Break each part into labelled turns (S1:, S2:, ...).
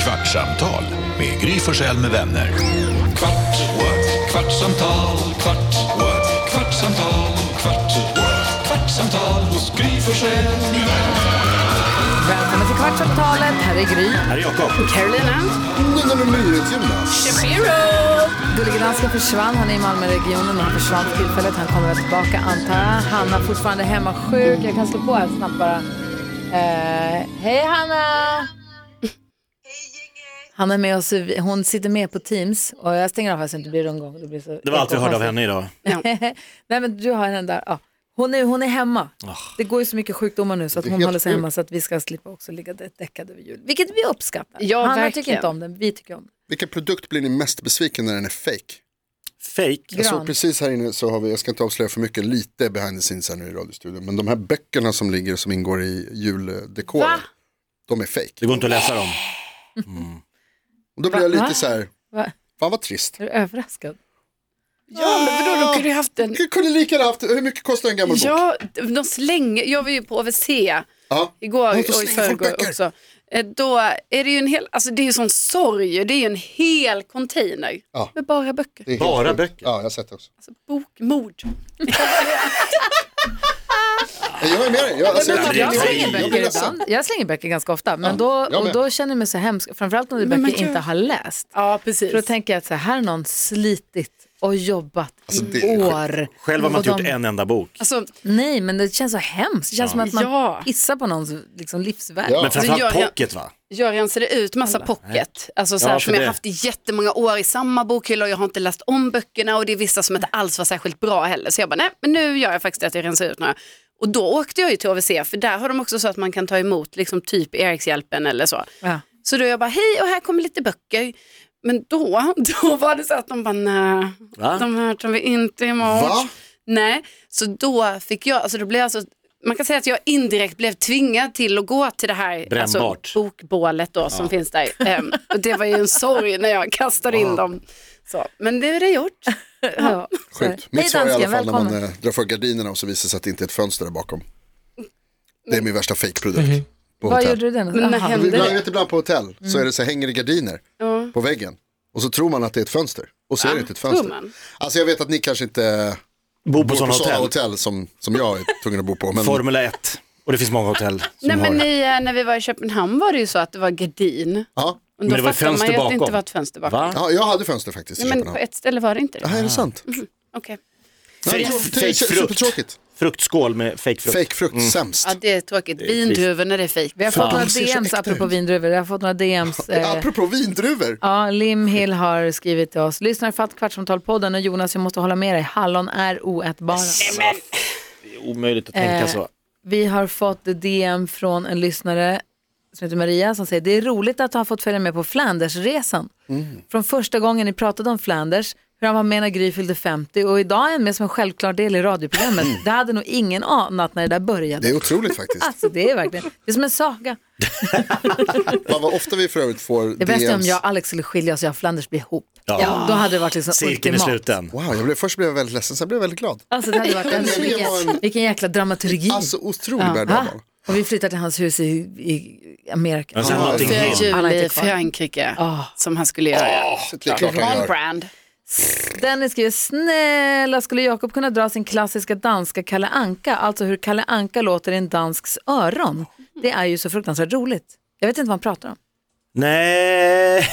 S1: Kvartsamtal med Gry Forssell med vänner. Kvart, what? kvartsamtal, kvart, what? kvartsamtal, kvart, what? kvartsamtal hos Gry Forssell med vänner.
S2: Välkommen till Kvartsamtalet. Här är Gry. Här är Jakob. Carolina. Shapiro. Gullige dansken försvann. Han är i Malmöregionen och han försvann för tillfället. Han kommer väl tillbaka antar jag. Hanna fortfarande hemma sjuk. Jag kan slå på här snabbt bara. Eh, hej Hanna! Hanna är med oss, i- hon sitter med på Teams och jag stänger av här så det inte blir rundgång. Det, blir så
S3: Det var allt vi hörde av henne idag.
S2: Nej men du har henne där. Ja. Hon, är, hon är hemma.
S3: Ah.
S2: Det går ju så mycket sjukdomar nu så att hon håller sig hemma så att vi ska slippa också ligga där däckade över jul. Vilket vi uppskattar.
S4: Ja,
S2: Hanna
S4: verkligen.
S2: tycker inte om den, vi tycker om den.
S5: Vilken produkt blir ni mest besviken när den är fake?
S3: Fake.
S5: Jag
S2: Gran.
S5: såg precis här inne så har vi, jag ska inte avslöja för mycket, lite behind the scenes här nu i radiostudion. Men de här böckerna som ligger som ingår i juldekoren,
S2: Va?
S5: de är fake.
S3: Det går inte att läsa dem. Mm.
S5: Och då blir jag
S2: Va?
S5: lite så här,
S2: Va?
S5: fan vad trist.
S2: Är du överraskad?
S4: Ja, men vadå, då kunde du haft en...
S5: Jag kunde lika gärna haft, hur mycket kostar en gammal bok?
S4: Ja, de slänger... Jag var ju på OVC
S5: Ja.
S4: igår
S5: Ja, då
S4: och i
S5: slänger folk
S4: förrgår
S5: böcker.
S4: också. Eh, Då är det ju en hel, alltså det är ju sån sorg, det är ju en hel container
S5: Ja.
S4: med bara böcker.
S5: Det är helt
S3: Bara
S5: sjukt.
S3: böcker?
S5: Ja, jag har sett det också.
S4: Alltså bokmord.
S5: Nej, Jag är med dig. Jag, alltså,
S3: men
S5: jag,
S3: det är
S2: Jag
S5: jag,
S3: inte
S5: jag,
S2: slänger
S3: jag blir
S2: böcker
S5: ledsen.
S2: ibland. Jag slänger böcker ganska ofta men då,
S5: jag
S2: och
S5: med.
S2: då känner jag mig så hemsk, framförallt om det är böcker
S4: men
S2: jag
S4: gud.
S2: inte har läst.
S4: Ja, precis.
S2: För då tänker jag att så här, här har någon slitit och jobbat
S5: Alltså, det
S2: i
S5: är sjukt.
S2: år.
S3: Själv har man inte
S2: Och
S3: gjort en enda bok.
S4: Alltså,
S2: Nej men det känns så hemskt, det känns som att man
S4: Ja.
S2: pissar på någons liksom, livsverk.
S5: Ja.
S3: Men framförallt
S4: jag- jag-
S3: pocket va?
S4: jag rensade ut massa pocket, alltså så här,
S3: Ja, för
S4: som jag
S3: det.
S4: har haft i jättemånga år i samma bokhylla och jag har inte läst om böckerna och det är vissa som inte alls var särskilt bra heller. Så jag bara, nej, men nu gör jag faktiskt det att jag rensar ut några. Och då åkte jag ju till OVC, för där har de också så att man kan ta emot liksom typ Erikshjälpen eller så.
S2: Ja.
S4: Så då jag bara, hej och här kommer lite böcker. Men då, då var det så att de bara, nej,
S3: Va?
S4: de här tar vi inte emot.
S5: Va?
S4: Nej, så då fick jag, alltså då blev jag så, man kan säga att jag indirekt blev tvingad till att gå till det här alltså,
S3: Brännbart.
S4: bokbålet då som finns där. Ehm, och det var ju en sorg när jag kastade in dem. Så, men nu är det gjort.
S2: Ja. så här.
S5: Sjukt. Mitt svar är i alla
S2: dansken,
S5: fall när
S2: välkommen.
S5: man eh, drar för gardinerna och så visar det sig att det inte är ett fönster där bakom. Det är min värsta fake-produkt. på
S2: Vad
S5: hotell.
S2: gjorde du den?
S4: Men när
S2: Aha.
S4: hände
S5: Ibland, jag
S4: det?
S5: vet, ibland på hotell
S2: Mm.
S5: så är det så här, hänger det gardiner på väggen och så tror man att det är ett fönster och så är det inte ett
S4: tror
S5: fönster.
S4: man.
S5: Alltså jag vet att ni kanske inte
S3: Bo på
S5: bor på
S3: sådana
S5: sådana
S3: hotell. Mm.
S5: hotell som, som jag är tvungen att bo på. Men
S3: Formula 1. Och det finns många hotell som
S4: Nej, men
S3: har.
S4: i, eh, när vi var i Köpenhamn var det ju så att det var gardin.
S5: ja,
S4: Och då
S3: Men det var
S4: fattade man
S3: fönster
S4: ju att det
S3: bakom.
S4: inte var ett fönster bakom.
S3: Va?
S5: ja, jag hade fönster faktiskt i
S4: Nej, men på
S5: Köpenhamn.
S4: ett ställe var det inte det.
S5: Ja, är det sant?
S2: Mm.
S4: Okej.
S5: Nej,
S3: Fake-
S5: det är
S3: fake frukt.
S5: supertråkigt.
S3: Fruktskål med fake frukt.
S5: Fake frukt, sämst.
S4: Ja, det är tråkigt. Vindruvor när det är fejk.
S2: Vi har fått
S5: Fan,
S2: några
S5: det ser så
S2: DMs
S5: äkta
S2: apropå
S5: ut.
S2: vindruvor. Vi har fått några DMs. Eh,
S5: Apropå vindruvor.
S2: ja, Lim Hill har skrivit till oss. Lyssnar fatt Kvartsamtal-podden och Jonas, jag måste hålla med dig. Hallon är oätbara.
S3: Det är omöjligt att tänka
S2: Eh,
S3: så.
S2: Vi har fått DM från en lyssnare som heter Maria som säger det är roligt att ha fått följa med på Flandersresan.
S5: Mm.
S2: Från första gången ni pratade om Flanders, hur han var med när Gry fyllde 50 och idag är han med som en självklar del i radioprogrammet. Det hade nog ingen anat när det där började.
S5: Mm. Det är otroligt faktiskt.
S2: Alltså det är verkligen, det är som en saga.
S5: Fan, vad ofta vi för övrigt får
S2: Det bästa är om
S5: DMs.
S2: jag och Alex skulle skilja oss och jag och Flanders blir ihop.
S3: Ja.
S2: Då hade det varit liksom
S3: Cirkeln är
S2: ultimat.
S3: sluten.
S5: Wow, jag blev, först blev jag väldigt ledsen, sen blev jag väldigt glad.
S2: Alltså det hade varit en,
S5: Det
S2: vilken,
S5: var en-
S2: vilken jäkla dramaturgi.
S5: Alltså otrolig
S2: Ja. Va?
S5: berg
S2: Ah, Och vi flyttar till hans hus i, i Amerika.
S3: Men sen någonting
S4: Fyra
S3: annat.
S2: Han har
S4: juli
S2: inte
S4: i
S2: kvar.
S4: Frankrike som han skulle göra.
S3: Ah,
S5: Det är klart jag
S4: On
S5: gör.
S4: brand.
S2: Dennis skriver, snälla skulle Jakob kunna dra sin klassiska danska Kalle Anka, alltså hur Kalle Anka låter i en dansks öron. Det är ju så fruktansvärt roligt. Jag vet inte vad han pratar om.
S3: Nej,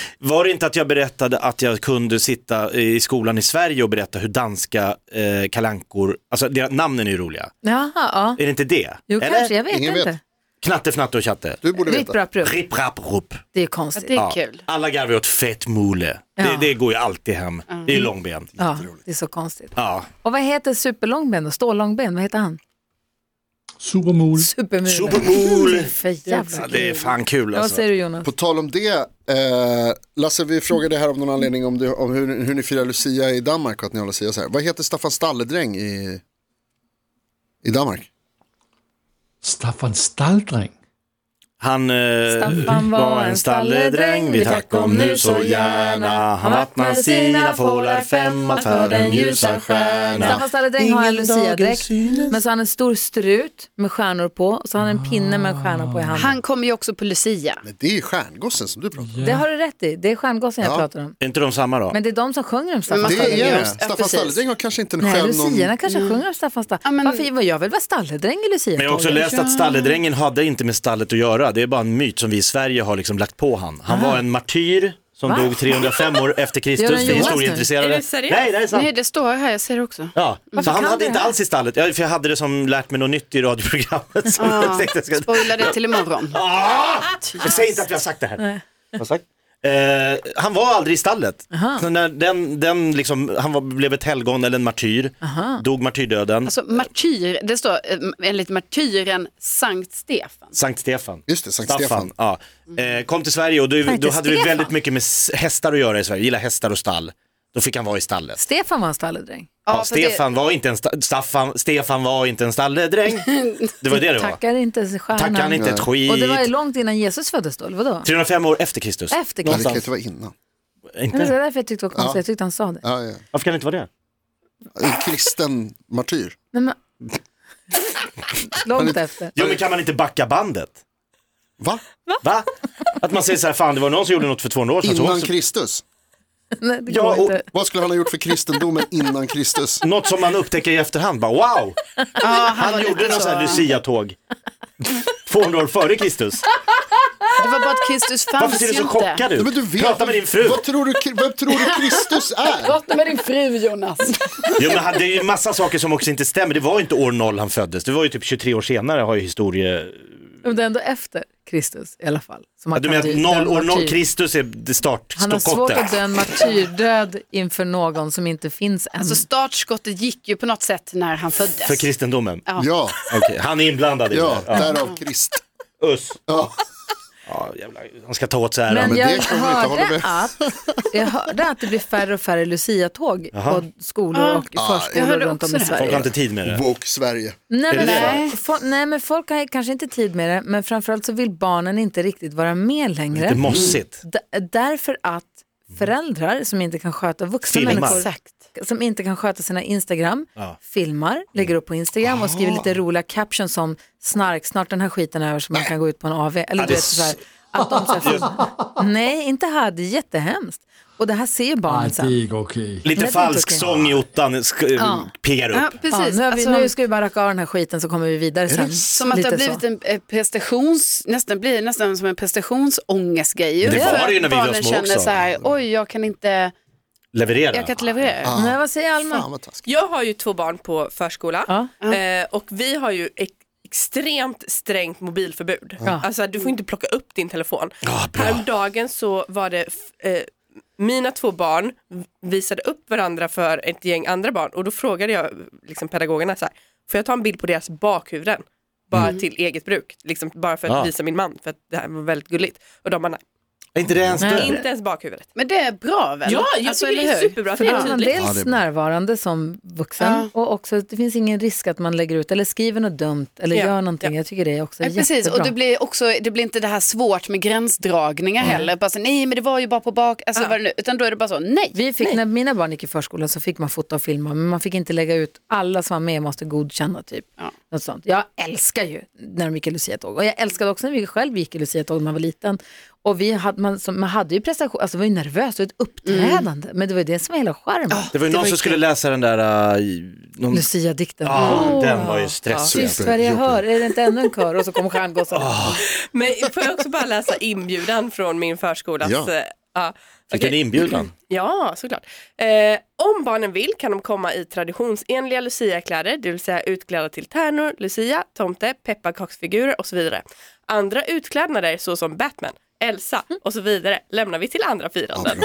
S3: var det inte att jag berättade att jag kunde sitta i skolan i Sverige och berätta hur danska eh, kalankor, alltså deras namnen är ju roliga.
S2: Jaha, ja.
S3: Är det inte det?
S2: Jo,
S3: Eller?
S2: kanske, jag vet
S5: Ingen vet.
S2: inte.
S3: Knatte, fnatte och tjatte.
S5: Du borde
S2: Ripp,
S5: veta.
S2: rapp, rupp.
S3: Ripp, rapp, rupp.
S2: Det är konstigt.
S4: Det är kul.
S3: Alla garvar åt fett mule.
S2: Ja.
S3: Det, det går ju alltid hem. Det är ju långben.
S2: Ja, det är så konstigt.
S3: Ja.
S2: Och vad heter superlångben då? Stålångben, vad heter han?
S6: Supermol.
S2: Supermule.
S3: Supermule.
S2: För
S3: Ja,
S2: jävla
S3: det är fan kul
S2: Vad
S3: alltså.
S2: säger du Jonas?
S5: På tal om det, eh, Lasse vi frågade här av någon anledning om, det, om hur, hur ni firar Lucia i Danmark och att ni har Lucia så här. Vad heter Staffan Stalledräng i, i Danmark?
S6: Staffan Stalldräng.
S3: Han eh,
S2: Staffan var en stalledräng Vi tack om nu så gärna Han vattnar sina fålar femma för den ljusa stjärna Staffan stalledräng har en luciadräkt Men så har han en stor strut med stjärnor på och så har han en pinne med en stjärna på i handen
S4: Han kommer ju också på Lucia.
S5: Nej, det är ju stjärngossen som du pratar om.
S2: Det har du rätt i, det är stjärngossen jag
S5: Ja.
S2: pratar om
S3: Är inte de samma då?
S2: Men det är de som sjunger om Staffan
S4: Men man-
S5: Det
S2: stalledräng
S5: är
S4: Ja,
S5: det.
S4: precis.
S5: Staffan Stalledräng har kanske inte en
S2: Nej,
S5: själv någon...
S2: lucierna kanske sjunger om Staffan stalledräng
S4: men-
S2: Varför var jag väl vara stalledräng i lucia
S3: Men jag har också läst att stalledrängen hade inte med stallet att göra. Det är bara en myt som vi i Sverige har liksom lagt på han. Han var en martyr som
S2: Ah. Va?
S3: dog 305 år efter
S2: Gör han
S3: Kristus för
S2: Jonas nu?
S3: historieintresserade.
S7: Är du seriös?
S3: Nej, det är sant.
S4: Nej, det står här, jag ser det också.
S3: Ja, så han
S2: kan
S3: hade
S2: du det
S3: inte
S2: här?
S3: alls i stallet. Ja, för jag hade det som lärt mig något nytt i radioprogrammet. Som jag
S4: Ah,
S3: tänkte jag ska...
S4: spoila det till imorgon.
S3: ah! Men Säg inte att vi har sagt det här. Vad har sagt? Eh, han var aldrig i stallet. Så när den, den liksom, han var, blev ett helgon eller en martyr, dog martyrdöden.
S4: Alltså martyr, det står eh, enligt martyren Sankt Stefan.
S3: Sankt Stefan.
S5: Just det, Sankt
S3: Staffan.
S5: Stefan.
S3: Ja. Eh, kom till Sverige och då, då hade vi
S2: Stefan.
S3: väldigt mycket med s- hästar att göra i Sverige. Gilla hästar och stall. Då fick han vara i stallet.
S2: Stefan var en stalledräng
S3: Ja,
S4: för
S3: Stefan, var inte en sta- Staffan, Stefan var inte en stalledräng. Det var det det var.
S2: Tackar inte stjärnan
S3: Tackar han inte ett skit.
S2: Och det var ju långt innan Jesus föddes då, eller vadå?
S3: 305 år efter Kristus.
S2: Efter Mm.
S5: Men det
S2: Kristus.
S5: kan ju inte vara innan.
S2: Nej, men Det
S3: Inte?
S2: var därför jag tyckte det var konstigt,
S5: Ja.
S2: jag tyckte han sa det.
S5: Ja, ja.
S3: Varför kan det inte vara det?
S5: En kristen martyr.
S2: Nej, men... Långt efter.
S3: Jo men kan man inte backa bandet?
S5: Va?
S3: Va? Att man säger så här, fan det var någon som gjorde något för 200 år sedan. så
S5: Innan
S3: också-
S5: Kristus?
S2: Nej, det
S3: Ja,
S2: går
S3: och-
S2: inte.
S5: Vad skulle han ha gjort för kristendomen innan Kristus?
S3: Något som man upptäcker i efterhand, bara wow! han gjorde någon sån här Lucia-tåg. 200 år före Kristus.
S4: Det var bara att Kristus fanns
S3: Varför ser du
S4: ju
S3: så
S4: inte.
S3: chockad
S5: Nej,
S3: ut?
S5: men du vet,
S3: Prata med din fru.
S5: Vad tror du, vem tror du Kristus är?
S4: Prata med din fru Jonas.
S3: Jo, men han- det är ju massa saker som också inte stämmer. Det var ju inte år noll han föddes. Det var ju typ 23 år senare har ju historie...
S2: Men det är ändå efter Kristus i alla fall. Som
S3: Ja,
S2: han
S3: du
S2: kan
S3: menar
S2: bli
S3: att noll,
S2: dömd
S3: år noll,
S2: martyr.
S3: Kristus är det
S2: Han har svårt att dö
S3: startskottet.
S2: en martyrdöd inför någon som inte finns än.
S4: Så startskottet gick ju på något sätt när han föddes.
S3: För kristendomen?
S5: Ja,
S3: Okej, han är inblandad i
S5: ja,
S3: det. Ja.
S5: därav krist.
S3: Uss.
S5: Ja.
S3: Ja, jävlar, han ska ta åt sig äran.
S2: men
S5: men
S2: jag,
S5: det kan man inte hålla
S2: hörde
S5: med.
S2: att, jag hörde att det blir färre och färre Lucia-tåg på skolor och
S4: jag
S2: förskolor
S4: hörde
S2: runt om
S4: också
S2: i
S4: det.
S3: Folk har
S2: Sverige.
S3: inte tid med det.
S5: Woke Sverige.
S2: Nej men,
S3: det
S2: nej. Fo- nej men folk har kanske inte tid med det, men framförallt så vill barnen inte riktigt vara med längre.
S3: Det är mossigt.
S2: D- därför att föräldrar som inte kan sköta vuxna
S3: Filmar.
S2: människor,
S4: Exakt.
S2: som inte kan sköta sina Instagram, filmar, lägger upp på Instagram och
S3: Ah.
S2: skriver lite roliga captions som snark, snart den här skiten är över så man kan gå ut på en AV. Eller
S3: Ja,
S2: du
S3: det är
S2: vet, så här, att de så här, nej, inte här, det är jättehemskt. Och det här ser ju barnen sen.
S6: Alltid okej.
S3: Lite
S2: Nej, det är inte
S3: falsk
S2: okej.
S3: sång i ottan sk- piggar
S4: Ja,
S3: upp.
S2: Ja,
S4: precis.
S2: nu, har vi,
S4: Alltså,
S2: nu ska vi bara racka av den här skiten så kommer vi vidare sen.
S4: Som att det har
S2: Lite så.
S4: blivit en eh, prestations, nästan blir nästan som en prestationsångestgrej. ju.
S3: Det var
S4: För
S3: det ju när vi var
S4: barnen
S3: små
S4: känner
S3: också.
S4: så här, oj jag kan inte,
S3: Leverera.
S4: jag kan inte leverera.
S2: Nej, vad säger Alma?
S5: Fan vad taskigt.
S7: Jag har ju två barn på förskola eh, och vi har ju ex- extremt strängt mobilförbud. Alltså du får inte plocka upp din telefon. Häromdagen så var det f- eh, mina två barn visade upp varandra för ett gäng andra barn och då frågade jag liksom, pedagogerna så här, får jag ta en bild på deras bakhuvuden? Bara till eget bruk, liksom, bara för att
S3: Ja.
S7: visa min man för att det här var väldigt gulligt. Och de bara nej,
S3: Är inte det ens det?
S7: inte ens bakhuvudet. Alltså,
S4: Men det är bra väl? Alltså,
S7: Ja, jag tycker det
S4: eller
S7: är
S4: hur?
S7: superbra. att
S2: För
S7: det
S2: då
S7: är
S2: är man
S7: tydligt.
S2: dels
S5: Ja, det är bra.
S2: närvarande som vuxen och också att det finns ingen risk att man lägger ut eller skriver något dumt eller
S7: Ja,
S2: gör någonting. Jag tycker det är också
S4: Ja, precis,
S2: jättebra.
S4: och det blir, också, det blir inte det här svårt med gränsdragningar
S2: Mm.
S4: heller. Bara så, nej men det var ju bara på bak, alltså, vad det nu, utan då är det bara så, nej.
S2: Vi fick, när mina barn gick i förskolan så fick man fota och filma men man fick inte lägga ut, alla som var med måste godkänna typ. Något sånt. Jag älskar ju när de gick i luciatåg och jag älskade också när vi själv gick i luciatåg när man var liten. Och vi hade, man, som, man hade ju prestation, alltså det var ju nervöst och ett uppträdande men det var ju det som var hela charmen.
S3: Det var ju någon som skulle läsa den där... äh, i- någon-
S2: Lucia-dikten.
S3: Ja, den var ju stressig.
S2: Tyst vad jag hör, är det inte ännu en kör? Och så kommer stjärngossen.
S7: Men får jag också bara läsa inbjudan från min förskola?
S5: Ja.
S7: ja.
S3: Vilken
S7: Okej.
S3: inbjudan.
S7: Ja, såklart. Eh, om barnen vill kan de komma i traditionsenliga luciakläder, det vill säga utklädda till tärnor, lucia, tomte, pepparkaksfigurer och så vidare. Andra utklädnader såsom Batman, Elsa och så vidare lämnar vi till andra firanden.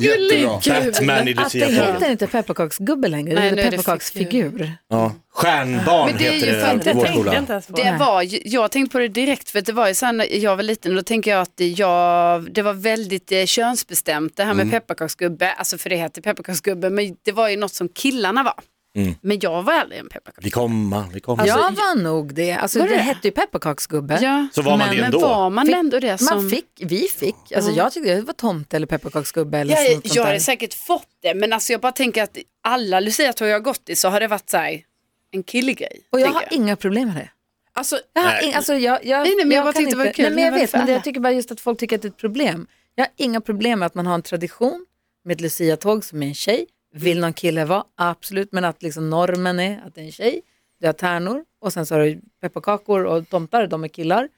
S5: Jättebra.
S3: Batman i
S2: Att det heter
S3: luciatågen.
S2: inte pepparkaksgubbe längre,
S4: Nej,
S2: det
S4: nu
S2: är
S4: är det
S2: pepparkaksfigur.
S3: Ja. Stjärnbarn
S4: Men det är ju för
S3: heter
S4: att
S3: det i
S7: jag
S3: vår
S7: tänkte
S3: skola.
S7: inte ens på
S4: Det var, ju- jag tänkte på det direkt för att det var ju sen när jag var liten och då tänker jag att det- jag, det var väldigt eh,
S3: Mm.
S4: könsbestämt det här med pepparkaksgubbe, alltså för det heter pepparkaksgubbe men det var ju något som killarna var.
S3: Mm.
S4: Men jag var aldrig en pepparkaka.
S3: Vi kommer, vi kommer.
S2: jag Alltså, var nog det. Alltså,
S4: Var
S2: det
S4: det?
S2: hette ju pepparkaksgubbe.
S4: Ja.
S3: Så var man det
S4: Men
S3: ändå?
S4: var man
S2: Fick-
S4: ändå det som...
S2: Man fick, vi fick, alltså jag tyckte det var tomte eller pepparkaksgubbe eller
S4: Ja,
S2: liksom sånt
S4: jag
S2: där.
S4: har säkert fått det, men alltså jag bara tänker att alla luciatåg jag har gått i så har det varit så här, en killegrej.
S2: Och jag
S4: tänker
S2: har inga problem med det.
S7: Alltså,
S2: Jag har
S3: Nej.
S2: inga, alltså jag, jag,
S4: Nej, nej, men jag bara
S2: kan
S4: tyckte det var kul.
S2: Nej, men jag
S4: Det var
S2: vet,
S4: för
S2: men det-
S4: alla.
S2: jag tycker bara just att folk tycker att det är ett problem. Jag har inga problem med att man har en tradition med ett luciatåg som är en tjej. Vill någon kille vara, absolut, men att liksom normen är att det är en tjej, du har tärnor och sen så har du pepparkakor och tomtar, de är killar.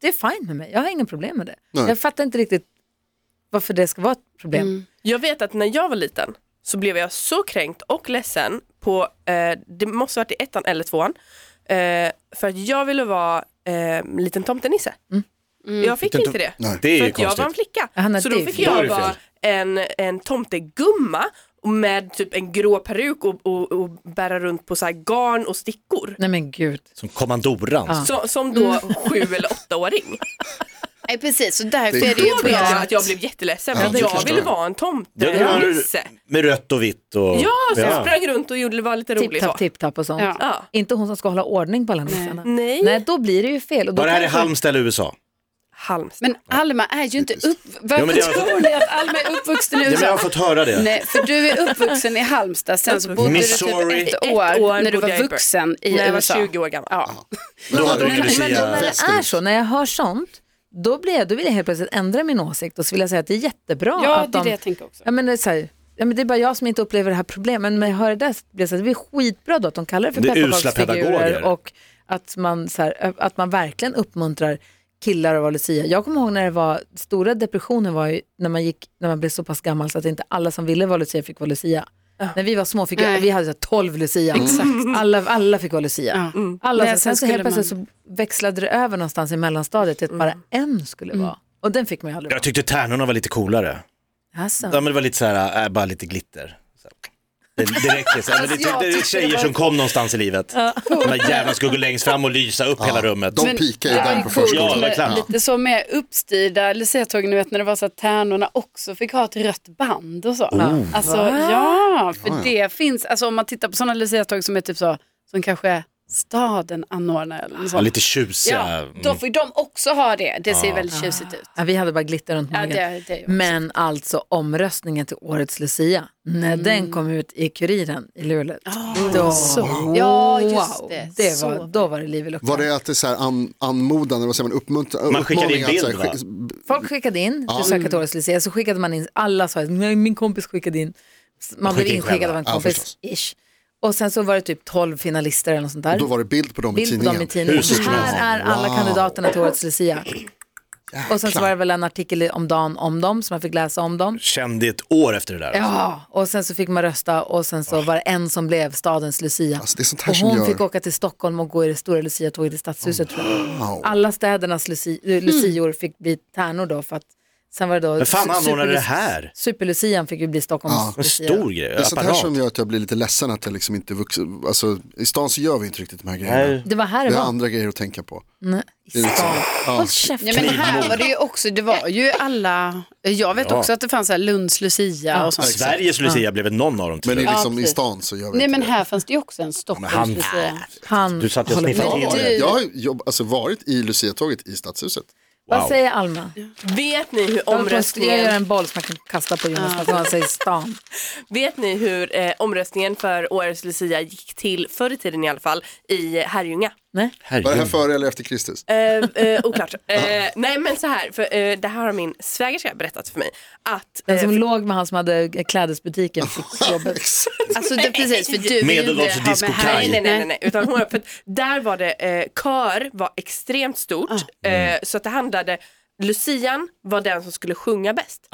S2: Det är fine med mig, jag har inga problem med det.
S5: Nej.
S2: Jag fattar inte riktigt varför det ska vara ett problem.
S4: Mm.
S7: Jag vet att när jag var liten så blev jag så kränkt och ledsen på, eh, det måste ha varit i ettan eller tvåan, eh, för att jag ville vara eh, liten tomtenisse. Jag fick inte det.
S5: Nej.
S3: Mm. Det är
S7: för
S3: ju
S7: att jag
S3: konstigt.
S7: var en flicka.
S2: Mm. Ja, nej,
S7: så
S2: det är
S7: då fick
S2: fel.
S3: Då är
S7: jag
S3: det fel.
S7: vara en, en tomtegumma med typ en grå peruk och, och, och bära runt på så här garn och stickor.
S2: Nej men gud.
S3: Som kommandoran.
S7: Så, som
S2: Mm.
S7: då sju eller åttaåring.
S4: Nej precis, så därför
S5: Det är
S4: är det ju
S7: Då vet jag
S4: bra.
S7: att jag blev jätteledsen
S5: Ja,
S7: för
S5: det
S7: att jag
S5: förstår
S7: ville
S5: jag.
S7: vara en
S3: Ja, det var-
S7: tomtenisse.
S3: Med rött och vitt och...
S7: Ja, så jag sprang runt och gjorde det var lite roligt. så.
S2: Tipp-tapp, tipp-tapp och sånt.
S4: Ja.
S7: Ja.
S2: Inte hon som ska hålla ordning på alla nissarna.
S7: Nej.
S2: Nej, då blir det ju fel. Och då
S3: Var det här
S2: kan
S3: i
S2: folk-
S3: Halmstad eller USA?
S7: Halmstad.
S4: Men Alma är ju inte upp... Varför
S3: men det har-
S4: tror ni att Alma är uppvuxen i
S3: Ja, men alltså, jag har
S4: USA?
S3: fått höra det.
S4: Nej, för du är uppvuxen i Halmstad, sen så bodde
S3: Missouri.
S4: du typ ett
S7: Ett
S4: år,
S7: år
S4: när du
S7: bodde jag
S4: var
S7: i Berkeley.
S4: vuxen i
S7: när jag
S4: USA.
S7: var 20 år gammal.
S4: Ja.
S3: Då hade du ingen
S2: När
S5: Men-
S3: lucia.
S5: men-
S2: det är så, när jag hör sånt, då, blir jag, då vill jag helt plötsligt ändra min åsikt och så vill jag säga att det är jättebra.
S4: ja,
S2: att
S4: det är
S2: de,
S4: det jag tänker också.
S2: Ja, men det, är så här, ja, men det är bara jag som inte upplever det här problemet, men när jag hör det där så blir det, så här, det blir skitbra då att de kallar det för
S3: Det är usla
S2: pepparkaksfigurer
S3: pedagoger.
S2: och att man, så här, att man verkligen uppmuntrar killar att vara lucia. Jag kommer ihåg när det var, stora depressionen var ju när man, gick, när man blev så pass gammal så att inte alla som ville vara lucia fick vara lucia. När vi var små fick jag,
S4: Nej.
S2: vi hade så här 12 lucia. Alla, alla fick vara lucia.
S4: Ja.
S3: Mm.
S2: Alla,
S4: Nej,
S2: så, sen
S4: sen
S2: så helt
S4: skulle
S2: plötsligt så växlade det över någonstans i mellanstadiet till att
S4: Mm.
S2: bara en skulle
S3: Mm.
S2: vara. Och den fick man ju aldrig vara.
S3: Jag tyckte tärnorna var lite coolare.
S2: Alltså.
S3: Ja men det var lite så här, äh, bara lite glitter. Så. Det, det räcker. Så. här,
S5: Alltså,
S3: Men det, det, det är tjejer som kom någonstans i livet. De där jävlarna skulle gå längst fram och lysa upp hela rummet.
S5: De pikar ju
S4: det var
S5: där
S4: ju
S5: på
S4: coolt
S3: Ja, det
S5: förskolan.
S3: var
S4: med
S3: klart.
S4: Lite så mer uppstyrda luciatåg, ni vet när det var så att tärnorna också fick ha ett rött band och så.
S3: Oh.
S4: Alltså ja, för det finns, alltså om man tittar på sådana luciatåg som är typ så, som kanske staden anordnar eller något
S3: Ja,
S4: sånt.
S3: lite tjusiga.
S4: Ja,
S3: Mm.
S4: då får ju de också ha det, det ser väldigt tjusigt ut.
S2: Ja, vi hade bara glitter runt
S4: Ja,
S2: magen.
S4: det- det också.
S2: Men alltså omröstningen till årets Lucia, när
S4: Mm.
S2: den kom ut i Kuriren i Luleå, då,
S4: Ah, Ja, just
S2: wow,
S4: det.
S2: det
S4: Så
S2: var, då var det liv i lukten.
S5: Var det att det är så här an, anmodande, vad säger man, uppmuntran?
S3: Man skickade
S5: uppmaning
S3: in
S5: att
S3: bild,
S5: så här skick-
S2: Folk skickade in, du söker till
S4: Mm.
S2: årets Lucia, så skickade man in, alla sa att "Nej, min kompis skickade in, man blev
S3: in
S2: inskickad
S3: själva.
S2: av en
S5: Ja,
S2: kompis,
S5: förstås.
S2: ish. Och sen så var det typ 12 finalister eller något sånt där.
S5: Då var det bild på dem i
S2: bild på
S5: tidningen.
S2: dem i tidningen.
S3: Hur skulle det
S2: Här är alla
S5: Wow.
S2: kandidaterna till årets Lucia. Och sen så var det väl en artikel om dagen om dem, som man fick läsa om dem.
S3: Kände ett år efter det där.
S2: Ja, och sen så fick man rösta och sen så var det en som blev stadens Lucia.
S5: Alltså, det är sånt här
S2: och
S5: som
S2: hon
S5: gör-
S2: fick åka till Stockholm och gå i det stora Lucia-tåget i Stadshuset. tror jag. Alla städernas luci...
S7: Mm.
S2: eh, lucior fick bli tärnor då för att sen var det då...
S3: Men fan
S2: su-
S3: anordnade
S2: superlu-
S3: det här?
S2: Superlucian fick ju bli Stockholms
S3: En
S2: lucia.
S3: stor grej,
S5: Det är sånt här
S3: apparat.
S5: som gör att jag blir lite ledsen att jag liksom inte vuxit, alltså i stan så gör vi inte riktigt de här grejerna.
S3: Nej.
S2: Det var här det
S5: Vi har
S2: var.
S5: andra grejer att tänka på.
S2: Nej, I stan. Håll käften.
S4: Ja, men här var det ju också, det var ju alla, jag vet också att det fanns så här Lunds lucia och sånt.
S3: Sveriges lucia blev väl någon av dem till
S5: Men i,
S3: slut.
S5: liksom, i
S4: precis.
S5: stan så gör vi
S4: Nej
S5: inte
S4: men
S5: det.
S4: här fanns det ju också en
S3: han-
S4: Stockholms lucia.
S2: Han
S3: Du satt och
S2: håller på.
S3: sniffade
S4: Men
S3: till
S4: du-
S3: det.
S5: Jag har ju jobb, alltså, varit i Luciatåget i Stadshuset.
S2: Vad
S3: Wow.
S2: säger Alma?
S7: Vet ni hur
S2: Jag håller på att göra
S7: omröstningen,
S2: en boll som man kan kasta på Jonas när han säger stan.
S7: vet ni hur, eh, omröstningen för årets Lucia gick till förr i tiden i alla fall i Herrljunga?
S2: Nej?
S5: Var det här
S3: Herregud.
S5: före eller efter Kristus?
S7: Eh, eh, oklart. Eh, nej men så här, för, eh, det här har min svägerska berättat för mig. Att,
S2: Den
S7: eh,
S2: som låg med han som hade klädesbutiken fick jobbet.
S4: Alltså det, precis, för du vill ju inte
S3: Medelålders
S4: ha med
S3: disco-kaj.
S4: här
S7: Nej, nej, nej, nej, nej. Utan hon, för att där var det, eh, kör var extremt stort. Eh, så att det handlade, Lucian var den som skulle sjunga bäst.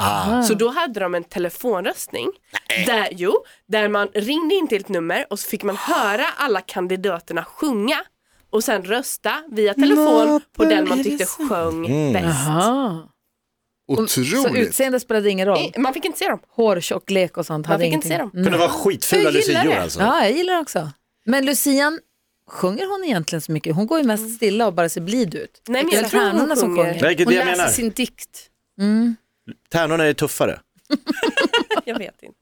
S7: Så då hade de en telefonröstning. Där, jo, där man ringde in till ett nummer och så fick man höra alla kandidaterna sjunga. Och sen rösta via telefon på den man tyckte sjöng bäst.
S2: Aha. Ah. Så
S5: Otroligt.
S2: utseende spelade ingen roll?
S7: Eh, Man fick inte se dem.
S2: Hår, tjocklek och sånt
S7: Man
S2: hade
S7: fick
S2: ingenting.
S7: inte se dem.
S3: Kunde vara skitfula
S4: Jag gillar
S3: lucior
S4: det.
S3: alltså.
S2: Ja, jag gillar det också. Men Lucian, sjunger hon egentligen så mycket? Hon går ju mest stilla och bara ser blid ut.
S7: Nej, men
S2: Det är
S7: jag tror hon
S2: tärnorna som
S7: sjunger.
S2: sjunger.
S3: Nej, det är
S4: Hon
S3: det jag menar.
S4: läser sin dikt.
S3: Tärnorna är tuffare.
S7: Jag vet inte.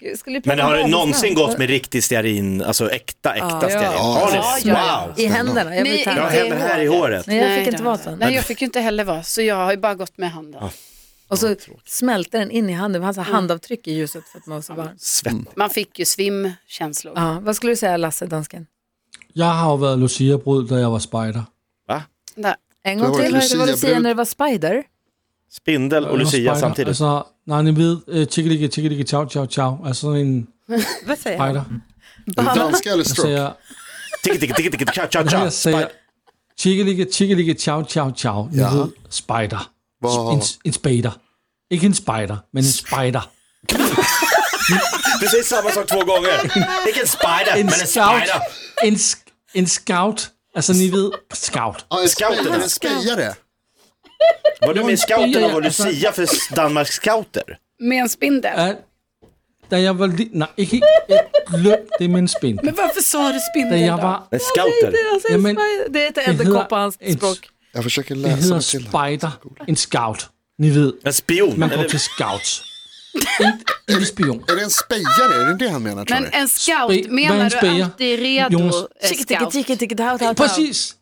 S2: Gud, skulle vi
S3: Men
S2: prata
S3: har
S2: om
S3: det någonsin
S2: snabbt?
S3: gått med riktig stearin, alltså äkta, äkta stearin? Har ni
S4: Ja,
S3: det?
S4: ja.
S3: Wow!
S2: I händerna? Jag,
S4: Nej,
S2: vet
S3: Jag
S4: inte
S3: har
S2: inte.
S3: händer här i håret.
S2: Nej, jag fick
S4: det
S2: inte
S4: har
S2: vara
S4: jag
S2: sån.
S4: Nej, jag fick ju inte heller vara, så jag har ju bara gått med handen.
S2: Och så smälter den in i handen, hans handavtryck i ljuset för att man var så varm.
S3: Svett.
S6: Mm.
S4: Man fick ju svimkänslor.
S2: Ja, vad skulle du säga Lasse, dansken?
S6: Jeg har jo været Lucia-brud, da jeg var spejder.
S4: Där.
S2: En
S5: Det
S2: gång
S5: var
S2: till, hörde du
S5: ett
S2: vad du säger
S5: luciabrud.
S2: när det var Spider?
S3: Spindel och
S6: Jeg var
S3: Lucia
S6: spejder,
S3: samtidigt.
S6: Altså, nej, ni ved, uh, tjekkelike, tjekkelike, ciao, ciao, ciao. Altså sådan en
S7: Vad säger han?
S6: spejder.
S5: Är det danska eller
S6: Jeg
S5: stroke?
S6: siger,
S3: Ticka, ticka, ticka, ticka, cha, cha, cha.
S6: jeg siger, tjekkelike, tjekkelike, ciao, ciao, ciao. Ni
S5: Ja.
S6: ved, spejder.
S5: Wow.
S6: En, en spejder. Ikke en spejder, men en spejder.
S3: Du säger samma sak två gånger. Vilken spider,
S6: En
S3: men en
S6: scout.
S3: spider.
S6: En, sk- en scout. Altså, ni ved, scout.
S5: Ja, en
S3: Scouten.
S5: spejare. En spejare.
S3: Var du med i scouten och var
S6: Alltså-
S3: Lucia för Danmarks scouter?
S4: Med en spindel.
S6: Ja, da jeg var lille... Nej, ikke... Jeg glem det med en spind.
S4: Men varför sa du
S6: Da
S4: spindel
S6: jeg
S4: då?
S6: var...
S3: En scouter?
S2: Alltså,
S6: Ja, men-
S2: spider. Det heter
S6: Det
S2: inte
S6: hedder
S2: koppa hans
S6: en-
S2: språk.
S5: Jag försöker
S6: Det
S5: läsa
S6: hedder
S5: mig till det.
S6: spider. En scout. Ni ved,
S3: En spion?
S6: man går
S3: Eller-
S6: til scouts. En, en spion.
S5: Är det en spejare? Är det det han menar tror
S4: Men
S5: ni?
S4: en
S6: Spe-
S4: scout,
S6: vad är
S4: menar
S6: en
S4: du
S6: speja?
S4: alltid redo
S6: Jonas.
S4: eh, scout?
S6: Præcis.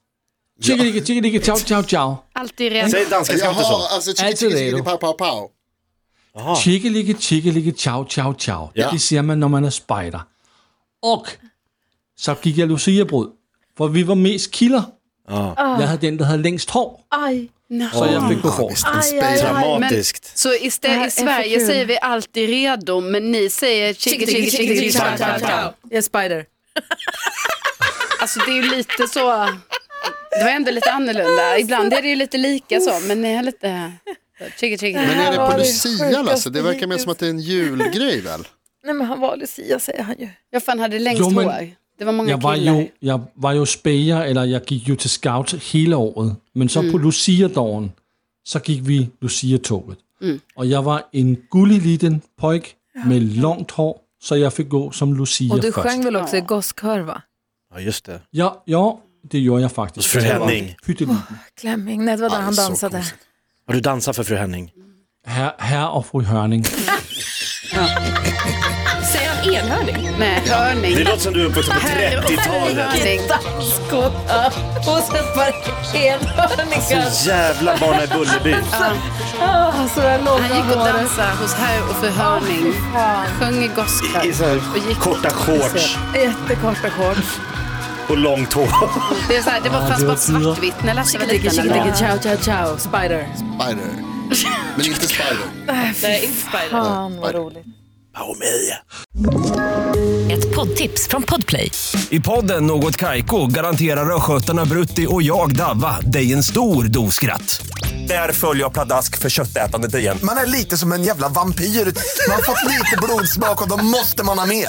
S6: Tjekke, tjekke, ciao, ciao, ciao.
S4: Alltid redo.
S3: Säger danska scouter
S5: Jaha,
S3: så?
S5: alltså chicka
S6: Alltså,
S5: chicka
S6: det är
S5: chicka
S6: då.
S5: pow pow pow.
S6: Tjekke, tjekke, ciao, ciao, ciao.
S3: Ja.
S6: Det siger man, når man er spider. Og så gik jeg Lucia-brud, for vi var mest kilder. Jeg havde den, der havde længst hår,
S2: Aj,
S6: så jeg fik gå for.
S5: Visst, en
S2: aj, aj,
S5: spejare.
S2: aj.
S3: Dramatiskt.
S4: Så
S2: Det här
S4: istället,
S2: är
S4: i
S2: för
S4: Sverige
S2: kul.
S4: säger vi alltid redo, men ni säger chicka chicka chicka chicka ciao ciao ciao.
S2: Ja, Spider.
S4: Alltså det är ju lite så, det var ändå lite annorlunda. Ibland är det ju lite lika så, men ni är lite chicka
S5: Men
S4: chicka.
S5: är det
S2: Ja,
S5: på
S2: det är
S5: Lucia
S2: sjukaste
S5: Lasse? Det verkar mer
S2: hittills.
S5: som att det är en julgrej väl?
S2: Nej men han var Lucia säger han ju.
S4: Jag fan hade längst
S6: Jo, men-
S4: hår. Det var många
S6: Jeg var,
S4: killar.
S6: jo, jeg var jo spæger, eller jeg gik jo til scout hele året. Men så på Lucia-dagen, så gik vi Lucia-toget. Og jeg var en gullig liten pojk med langt hår, så jeg fik gå som Lucia
S2: Och du
S6: først.
S2: sjöng väl också i gosskör va?
S3: Ja, just det.
S6: Ja, ja, det gjorde jag faktisk.
S3: Fru Henning.
S6: Hytteliten.
S2: Klemming, nej det var där
S5: det
S2: han
S5: är så
S2: dansade.
S5: konstigt.
S3: Har du dansat för fru Henning?
S6: Herre her og fru Hørning.
S7: Säger han enhörning?
S4: Nej, hörning.
S3: Det låter som du är uppvuxen på typ 30-talet.
S4: Hörning.
S2: Skotta och sen var enhörningar.
S3: Så jävla barn i Bullerby.
S2: Ah, så där långa
S4: Han gick och
S2: håret.
S4: dansade hos herr och fru Hörning. Sjöng i
S3: I- I så
S4: gosskör.
S3: här korta shorts
S2: Jättekorta shorts.
S3: och långt hår.
S4: Det, är så här, det var fanns
S6: det
S4: bara
S6: var tider.
S4: svartvitt när Lasse var
S2: Tiki,
S4: liten.
S2: tiki,
S4: eller?
S2: tiki, ciao, ciao, ciao, Spider.
S5: Spider. Men inte spider.
S7: Nej, inte spider.
S2: Fan vad roligt.
S3: Paomedia.
S8: Ett poddtips från Podplay.
S9: I podden Något Kaiko garanterar östgötarna Brutti och jag, Davva, dig en stor dos skratt. Där följer jag pladask för köttätandet igen.
S10: Man är lite som en jävla vampyr. Man har fått lite blodsmak och då måste man ha mer.